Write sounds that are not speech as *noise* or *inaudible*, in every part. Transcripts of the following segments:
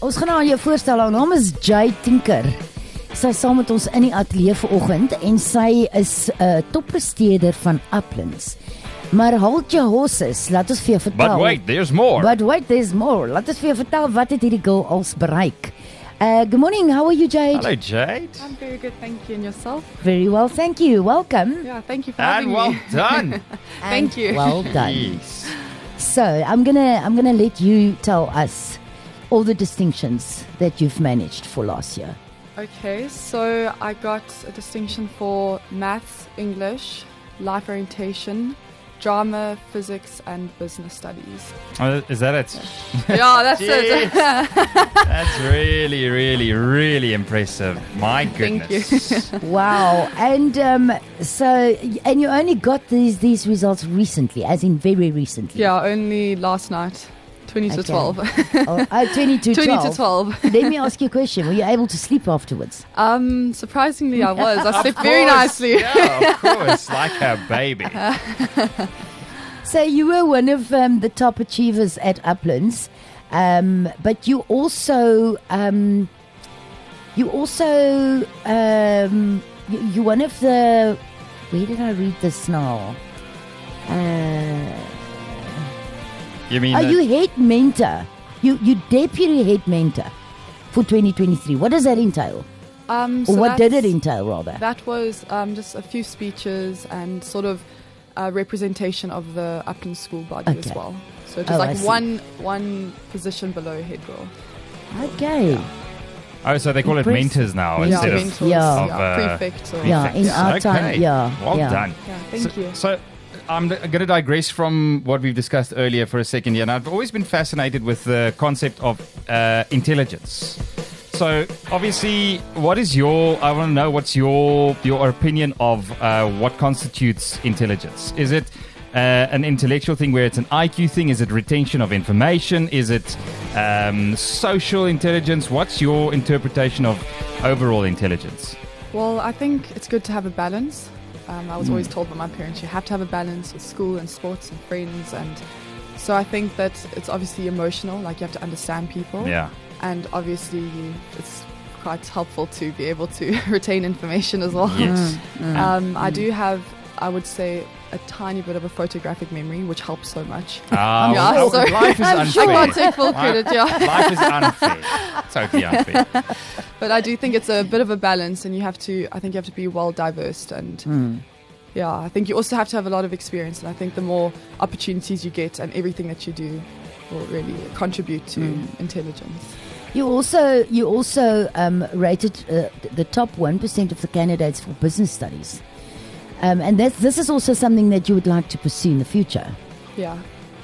Ons gaan haar jou voorstel. Haar naam is Jay Tinker. Sy is saam met ons in die ateljee vanoggend en sy is 'n toppresteerder van Uplands. Maar hold your horses, laat ons vir jou vertel. But wait, there's more. But wait, there's more. Laat ons vir jou vertel wat het hierdie girl als bereik. Uh, good morning. How are you, Jade? Hello, Jade. I'm very good, thank you. And yourself? Very well, thank you. Welcome. Yeah, thank you for And having well me. done. And Thank you. Well done. Yes. so, I'm going to I'm going to let you tell us all the distinctions that you've managed for last year. *laughs* Okay, so I got a distinction for maths, English, life orientation, drama, physics, and business *laughs* studies. Oh, is that it? yeah, that's it. Jeez. That's really, really, really impressive. My Thank goodness. you. Wow. And um, so, and you only got these these results recently, as in very recently. *laughs* Yeah, only last night, 20 to Okay. *laughs* 12. Oh, uh, 20 to 20 12. to 12. Let me ask you a question. Were you able to sleep afterwards? Um, surprisingly, I was. *laughs* I slept very Of course. nicely. Yeah, of course, like a baby. So you were one of um, the top achievers at Uplands, um, but you also um, you also um, you, you're one of the. Where did I read this now? Uh, You mean Are that- Ah, you head mentor? You you deputy head mentor for 2023. What does that entail? Um, Or so what did it that's- entail rather? That was um, just a few speeches and sort of uh, representation of the Upton School body Okay. as well. So it Oh, was I like see. one one position below head girl. Okay. Oh, so they call it Impressed. mentors now Yeah, yeah, instead of. mentors, Yeah. yeah, of, uh, prefect. Or, Yeah, in our Okay. time, yeah, Well yeah. done. Yeah, thank so, you. So I'm going to digress from what we've discussed earlier for a second here. And I've always been fascinated with the concept of uh, intelligence. So obviously, what is your? I want to know what's your your opinion of uh, what constitutes intelligence? Is it uh, an intellectual thing where it's an IQ thing? Is it retention of information? Is it um, social intelligence? What's your interpretation of overall intelligence? Well, I think it's good to have a balance. Um, I was Hmm. always told by my parents you have to have a balance with school and sports and friends and. So I think that it's obviously emotional, like you have to understand people, Yeah. and obviously you, it's quite helpful to be able to *laughs* retain information as well. Yes. Um, I do have, I would say, a tiny bit of a photographic memory, which helps so much. Ah, Yeah, well, Hmm. sorry. life is I'm sure I can't unfair. take full credit, yeah. Life is unfair. Totally unfair. But I do think it's a bit of a balance, and you have to, I think you have to be well diverse. And Mm. yeah, I think you also have to have a lot of experience. And I think the more opportunities you get and everything that you do will really contribute to intelligence. You also you also um, rated uh, th- the top one percent of the candidates for business studies, um, and that's, this is also something that you would like to pursue in the future. Yeah,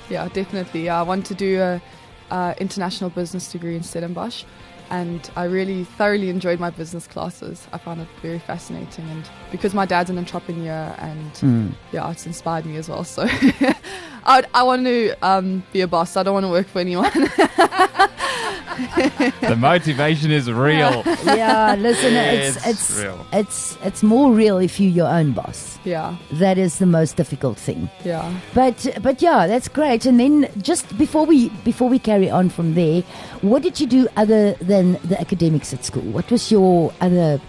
yeah, definitely. Yeah, I want to do a uh, international business degree in Stellenbosch, and I really thoroughly enjoyed my business classes. I found it very fascinating, and because my dad's an entrepreneur, and yeah, it's inspired me as well. So *laughs* I, would- I want to um, be a boss. I don't want to work for anyone. *laughs* The motivation is real. *laughs* Yeah, listen, It's it's it's real. it's it's more real if you're your own boss. yeah, That is the most difficult thing. yeah. But but yeah, that's great. And then just before we before we carry on from there, what did you do other than the academics at school? What was your other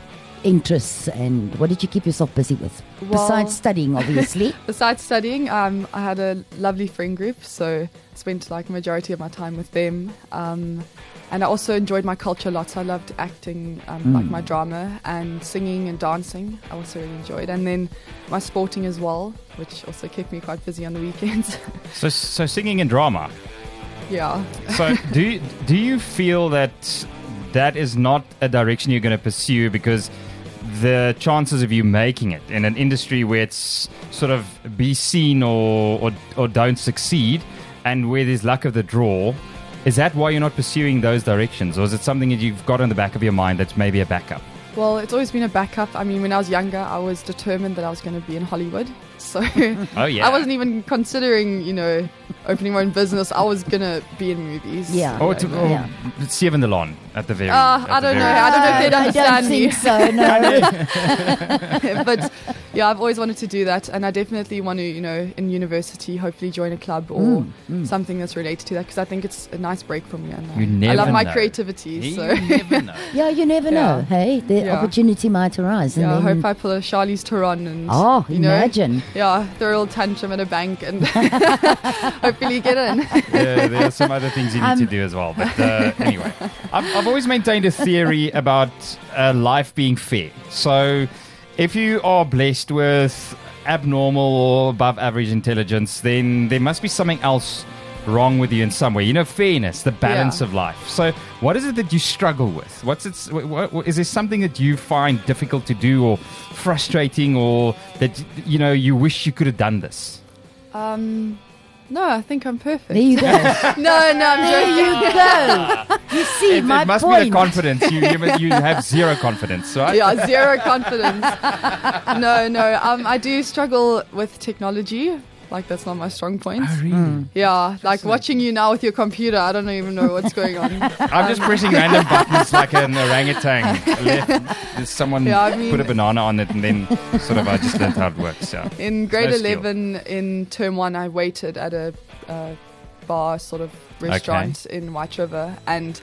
interests and what did you keep yourself busy with Well- besides studying obviously Besides studying, um, I had a lovely friend group, so I spent like majority of my time with them. Um, and I also enjoyed my culture lots. I loved acting, um, like my drama and singing and dancing. I also really enjoyed, and then my sporting as well, which also kept me quite busy on the weekends. *laughs* So, so singing and drama. yeah, So, do you, do you feel that that is not a direction you're going to pursue because the chances of you making it in an industry where it's sort of be seen or or, or don't succeed, and where there's luck of the draw. Is that why you're not pursuing those directions, or is it something that you've got in the back of your mind that's maybe a backup? well, it's always been a backup. I mean, when I was younger, I was determined that I was going to be in Hollywood, *laughs* so Oh yeah, I wasn't even considering, you know, opening my own business, I was gonna be in movies. Yeah. Or, You to, know, or Yeah. Steven Delon at the very. Uh, at I the don't know. very- *laughs* I don't know if they'd I understand don't me. think so. No. *laughs* but yeah, I've always wanted to do that, and I definitely want to, you know, in university, hopefully join a club or Mm, mm. something that's related to that because I think it's a nice break from me. And, uh, You I never love my know. creativity, so You never know. yeah, you never Yeah. know. Hey, the Yeah. opportunity might arise. And yeah, I then, hope I pull a Charlie's Theron and oh, you know, imagine. yeah, throw a little tantrum at a bank and *laughs* hopefully get in. *laughs* yeah, there are some other things you need Um, to do as well. But uh, anyway, I've, I've always maintained a theory about uh, life being fair. So if you are blessed with abnormal or above average intelligence, then there must be something else wrong with you in some way. You know, fairness, the balance Yeah. of life. So what is it that you struggle with? What's it's, wh- wh- wh- is there something that you find difficult to do or frustrating or that, you know, you wish you could have done this? Um, no, I think I'm perfect. There you *laughs* go. no, no, I'm there joking. you *laughs* go. You see, it, my it must point. be the confidence. You, you, you have zero confidence, right? yeah, zero confidence. No, no. Um, I do struggle with technology. Like that's not my strong point. Hmm. Yeah, like watching you now with your computer, I don't even know what's going on. I'm just pressing random buttons like an *laughs* orangutan. Left, there's someone Yeah, I mean- put a banana on it, and then sort of I just learned how it works. Yeah. In grade No skill. 11, in term one, I waited at a uh, bar sort of restaurant in White River and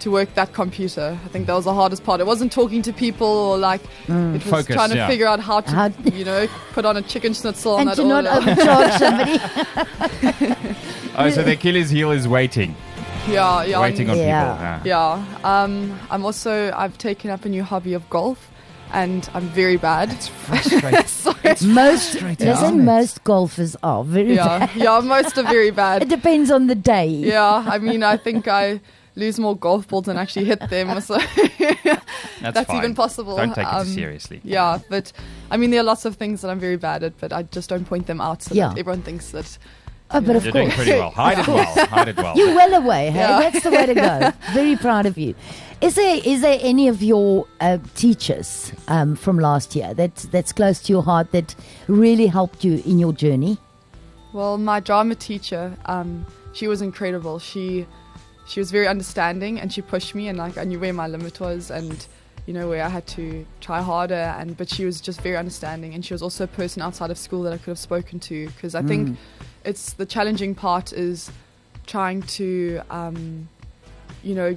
to work that computer. I think that was the hardest part. It wasn't talking to people or like it was Focus, trying to yeah. figure out how to, How- you know, put on a chicken schnitzel and *laughs* that to not *laughs* order. overcharge *laughs* somebody. Oh, so the Achilles heel is waiting, yeah, yeah. waiting on Yeah. people. Ah, Yeah. Yeah. Um, I'm also I've taken up a new hobby of golf, and I'm very bad. It's frustrating. so most, Straight listen, out. most golfers are very bad. yeah, yeah, most are *laughs* very It bad. depends on the day. Yeah, I mean, I think I lose more golf balls than actually hit them. So That's, *laughs* That's fine. even possible. Don't take Um, it too seriously. yeah, but I mean, there are lots of things that I'm very bad at, but I just don't point them out so Yeah. that everyone thinks that. Oh, but of You're doing course. pretty well. Hide it *laughs* well. Hide it well. You're well away. Hey? Yeah. That's the way to *laughs* go. Very proud of you. Is there is there any of your uh, teachers um, from last year that that's close to your heart that really helped you in your journey? Well, my drama teacher, um, she was incredible. She she was very understanding and she pushed me and like I knew where my limit was and you know where I had to try harder and but she was just very understanding and she was also a person outside of school that I could have spoken to because I think it's the challenging part is trying to um, you know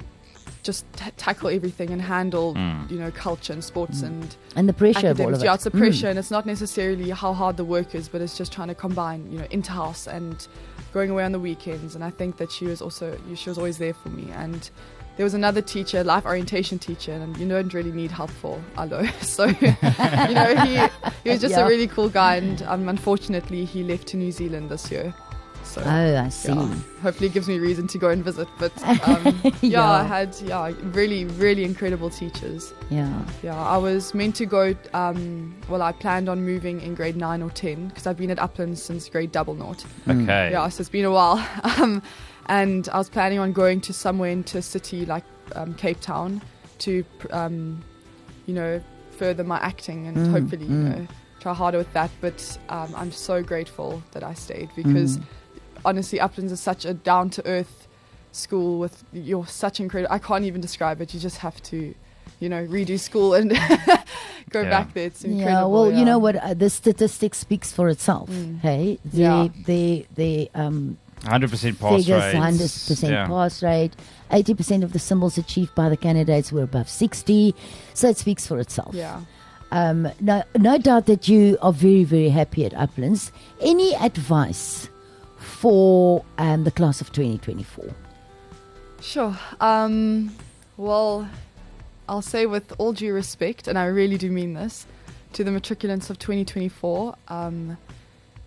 just t- tackle everything and handle Mm. you know culture and sports and And the pressure of all academics. of it. Yeah, it's the Mm. pressure, and it's not necessarily how hard the work is, but it's just trying to combine, you know, inter house and going away on the weekends. And I think that she was also she was always there for me. And there was another teacher, life orientation teacher, and you don't really need help for Alo. *laughs* So you know, he he was just Yeah. a really cool guy, and um, unfortunately, he left to New Zealand this year. So. Oh, I see. yeah, hopefully it gives me reason to go and visit. But *laughs* um, yeah, Yeah. I had yeah really really incredible teachers. Yeah. Yeah, I was meant to go. Um, well, I planned on moving in grade nine or ten because I've been at Uplands since grade double naught. Okay. Yeah, so it's been a while. *laughs* Um, and I was planning on going to somewhere into a city like um, Cape Town to, pr- um, you know, further my acting and Mm, hopefully, you mm. know, try harder with that. But um, I'm so grateful that I stayed Mm. because honestly, Uplands is such a down to earth school with you're such incredible. I can't even describe it. You just have to, you know, redo school and *laughs* go Yeah. back there. It's incredible. Yeah, well, yeah. you know what? Uh, the statistic speaks for itself. Mm. Hey, the Yeah. the the um, 100% pass figures: rates. hundred percent Yeah. pass rate, eighty percent of the symbols achieved by the candidates were above sixty, so it speaks for itself. Yeah. Um, no, no doubt that you are very, very happy at Uplands. Any advice for um, the class of 2024? Sure. Um, well, I'll say with all due respect, and I really do mean this, to the matriculants of 2024. Um,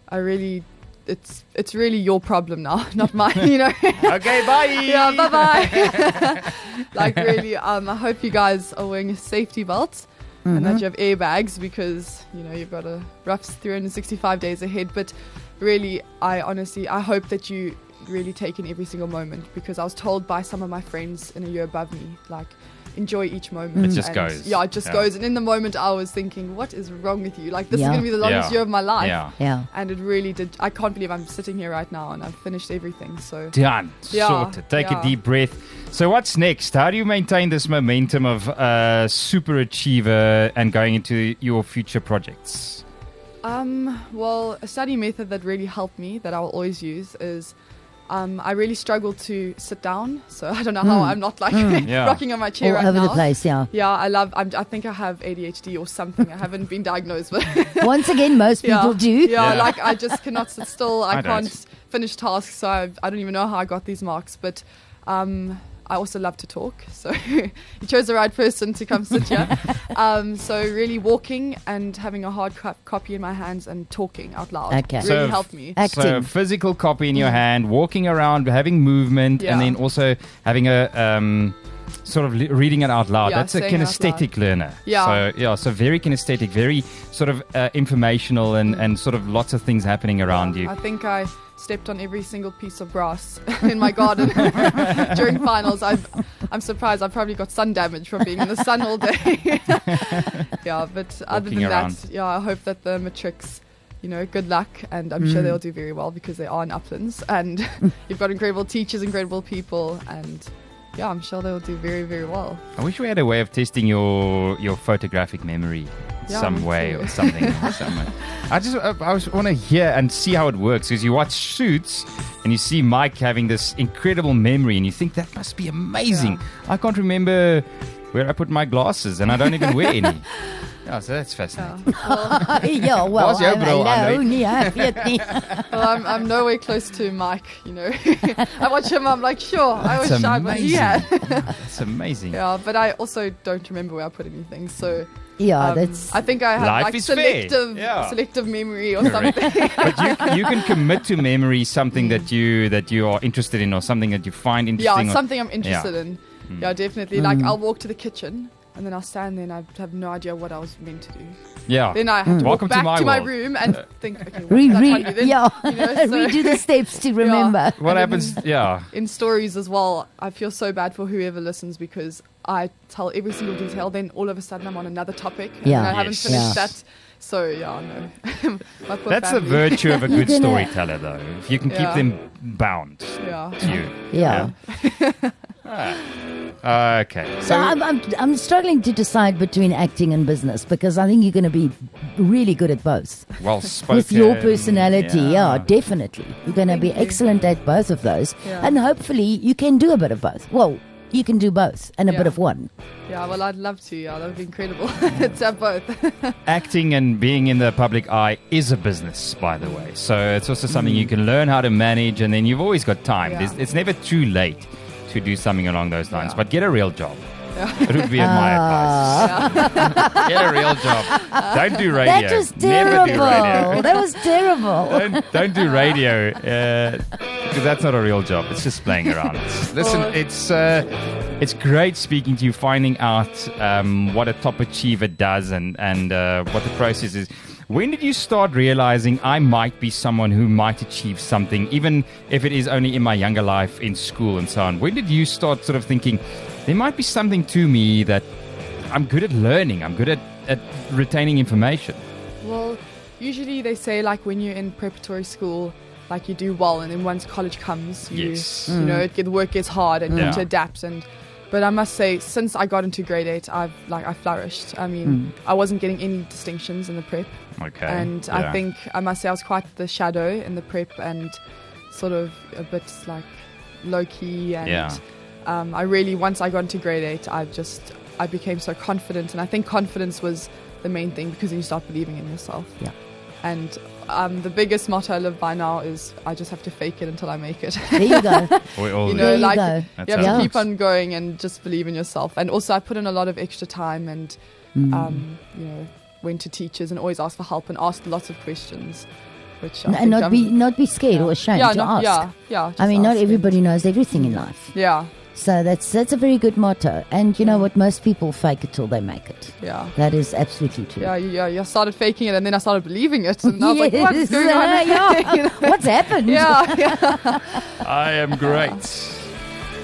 I really, it's it's really your problem now, *laughs* not mine. You know. Okay, bye. *laughs* yeah. Bye bye. like really, um, I hope you guys are wearing your safety belts. And that you have airbags because you know you've got a rough 365 days ahead. But really, I honestly, I hope that you really take in every single moment because I was told by some of my friends in a year above me, like enjoy each moment. It just and, goes. Yeah, it just Yeah. goes. And in the moment, I was thinking, what is wrong with you? Like this Yeah. is gonna be the longest Yeah. year of my life. Yeah. Yeah. And it really did. I can't believe I'm sitting here right now and I've finished everything. So Done. Yeah, Sorted. Take yeah. a deep breath. So, what's next? How do you maintain this momentum of uh, super achiever and going into your future projects? Um, well, a study method that really helped me that I will always use is um, I really struggle to sit down, so *laughs* I don't know how Mm. I'm not like *laughs* Yeah. rocking on my All chair right over now. the place, yeah. *laughs* *laughs* Yeah, I love. I'm, I think I have ADHD or something. I haven't been diagnosed, but Once again, most yeah, people do. Yeah. Yeah, like I just cannot sit still. *laughs* I, I don't. can't finish tasks, so I, I don't even know how I got these marks. But um, I also love to talk, so *laughs* you chose the right person to come sit *laughs* here. um, so really, walking and having a hard co- copy in my hands and talking out loud Okay. really So- helped me. So, Acting. physical copy in your hand, walking around, having movement, and Mm. Yeah. then also having a um, sort of li- reading it out loud. Yeah, That's a saying it out kinesthetic learner. Yeah. So, yeah, so very kinesthetic, very sort of uh, informational and, Mm. and sort of lots of things happening around you. I think I stepped on every single piece of grass *laughs* in my garden during finals. I've, I'm surprised. I probably got sun damage from being in the sun all day. *laughs* yeah, but other Walking than around. that, yeah, I hope that the matrix. You know, good luck, and I'm Mm. sure they'll do very well because they are in Uplands, and *laughs* you've got incredible teachers, incredible people, and yeah, I'm sure they'll do very, very well. I wish we had a way of testing your your photographic memory in Yeah, some me way too. or something. *laughs* or some way. I just I, I just want to hear and see how it works because you watch shoots and you see Mike having this incredible memory and you think that must be amazing. I can't remember where I put my glasses and I don't even wear *laughs* any. Yeah, so that's Yeah. fascinating. Well, *laughs* yeah, well, Was jou I'm bril aan, alone. Yeah, ek weet nie. well, I'm, I'm nowhere close to Mike. You know, *laughs* I watch him, I'm like, sure, I That's wish I was. amazing. Yeah, That's amazing. Yeah, but I also don't remember where I put anything. So *laughs* Yeah, *laughs* um, Ah, that's I think I have Life like is fair. selective, Yeah. selective memory or *laughs* Correct. something. But you, you can commit to memory something that you that you are interested in or something that you find Mm. interesting. yeah, Hmm. it's or- something I'm interested in. Yeah, definitely. Like Hmm. I'll walk to the kitchen and then I'll stand there and I have no idea what I was meant to do. yeah. Then I have to Hmm. Welcome walk to back to my my, world. room and think, okay, what re, did I re, try to do then? yeah. You know, *laughs* so- redo the steps *laughs* to remember. what happens? Yeah. in stories as well, I feel so bad for whoever listens because I tell every single detail, then all of a sudden I'm on another topic and Yeah. I haven't Yes. finished Yeah. that. So yeah, no. *laughs* My poor That's the family. virtue of a You're *laughs* good gonna- storyteller, though. If you can Yeah. keep them bound to Yeah. you. Yeah. *laughs* Yeah. Ah, Okay. So I'm, I'm, I'm struggling to decide between acting and business because I think you're going to be really good at both. well spoken. With your personality, yeah, definitely. You're going to be Thank you. excellent at both of those. Yeah. And hopefully you can do a bit of both. Well, you can do both and a bit Yeah. of one. Yeah, well, I'd love to. Yeah, that would be incredible. *laughs* it's at both. *laughs* Acting and being in the public eye is a business, by the way. So it's also something you can learn how to manage, and then you've always got time. Mm. Yeah. There's, it's never too late to do something along those lines. Yeah. But get a real job. It would be my advice. *laughs* Get a real job. Don't do radio. Ah. That was Never do radio. terrible. That was *laughs* terrible. don't, don't do radio because that's not a real job. It's just playing around. It's- Listen, Oh. it's uh, it's great speaking to you, finding out um, what a top achiever does and and uh, what the process is. When did you start realizing I might be someone who might achieve something, even if it is only in my younger life, in school and so on? When did you start sort of thinking there might be something to me that I'm good at learning, I'm good at, at retaining information? Well, usually they say like when you're in preparatory school, like you do well, and then once college comes, you Yes. you know it get, work gets hard and you Yeah. need to adapt. And but I must say, since I got into grade eight, I've like I flourished. I mean, I wasn't getting any distinctions in the prep, Okay, and I yeah. think I must say I was quite the shadow in the prep and sort of a bit like low key and. Yeah. um, I really once I got into grade eight, I just I became so confident, and I think confidence was the main thing because you start believing in yourself. Yeah. And um, the biggest motto I live by now is I just have to fake it until I make it. *laughs* There you go. we all you do. know, There you like um, go. That's you have how it to keep works. on going and just believe in yourself. And also, I put in a lot of extra time and Mm. um, you know went to teachers and always asked for help and asked lots of questions, which I and think not I'm- be not be scared or ashamed yeah, to not- ask. yeah, yeah. I just mean, not ask and- everybody knows everything in life, Yeah, so that's that's a very good motto. And you know what? Most people fake it till they make it. yeah. That is absolutely true. Yeah, you- yeah, yeah. I started faking it, and then I started believing it, and I was like, Yes, "What's going uh, *laughs* on?" *laughs* yeah. What's happened? yeah, yeah. I am great. Uh,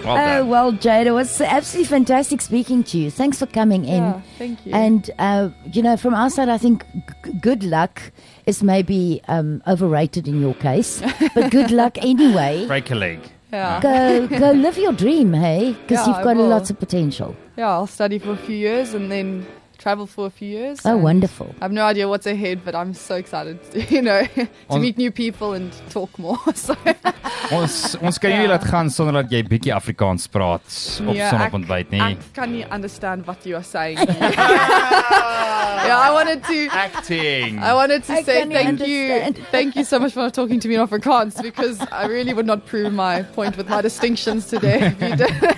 Well Oh, done. well, Jade, it was absolutely fantastic speaking to you. Thanks for coming in. Yeah, thank you. And, uh, you know, from our side, I think g- good luck is maybe um, overrated in your case, *laughs* but good luck anyway. Break a leg. yeah. Go, go live your dream, hey? Because Yeah, you've I got will. lots of potential. Oh, Yeah, I'll study for a few years and then travel for a few years. Oh, and wonderful. I have no idea what's ahead, but I'm so excited, *laughs* you know, to On- meet new people and talk more. *laughs* So Ons ons kan julle laat gaan sonder dat jy bietjie Afrikaans praat op Yeah, sonder ek- op ontbyt I nie. can you understand what you are saying? *laughs* yeah, I wanted to *laughs* Acting. I wanted to I say can thank understand. *laughs* you. Thank you so much for talking to me in Afrikaans because I really would not prove my point with my distinctions today. *laughs* If you did-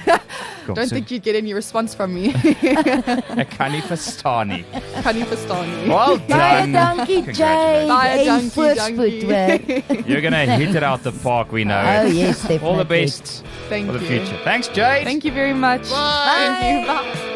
Kom, don't so, think you'd get any response from me. *laughs* ek kan nie verstaan nie. Can you understand me? Well Baie done. dankie, Jade. Congratulations. Baie Hey, dankie, voorspoed, dankie. hoor. You're going to hit it out the park, we know. Oh, it. yes, definitely. All the best Thank for the you. future. Thanks, Jade. Thank you very much. Thank you. Bye.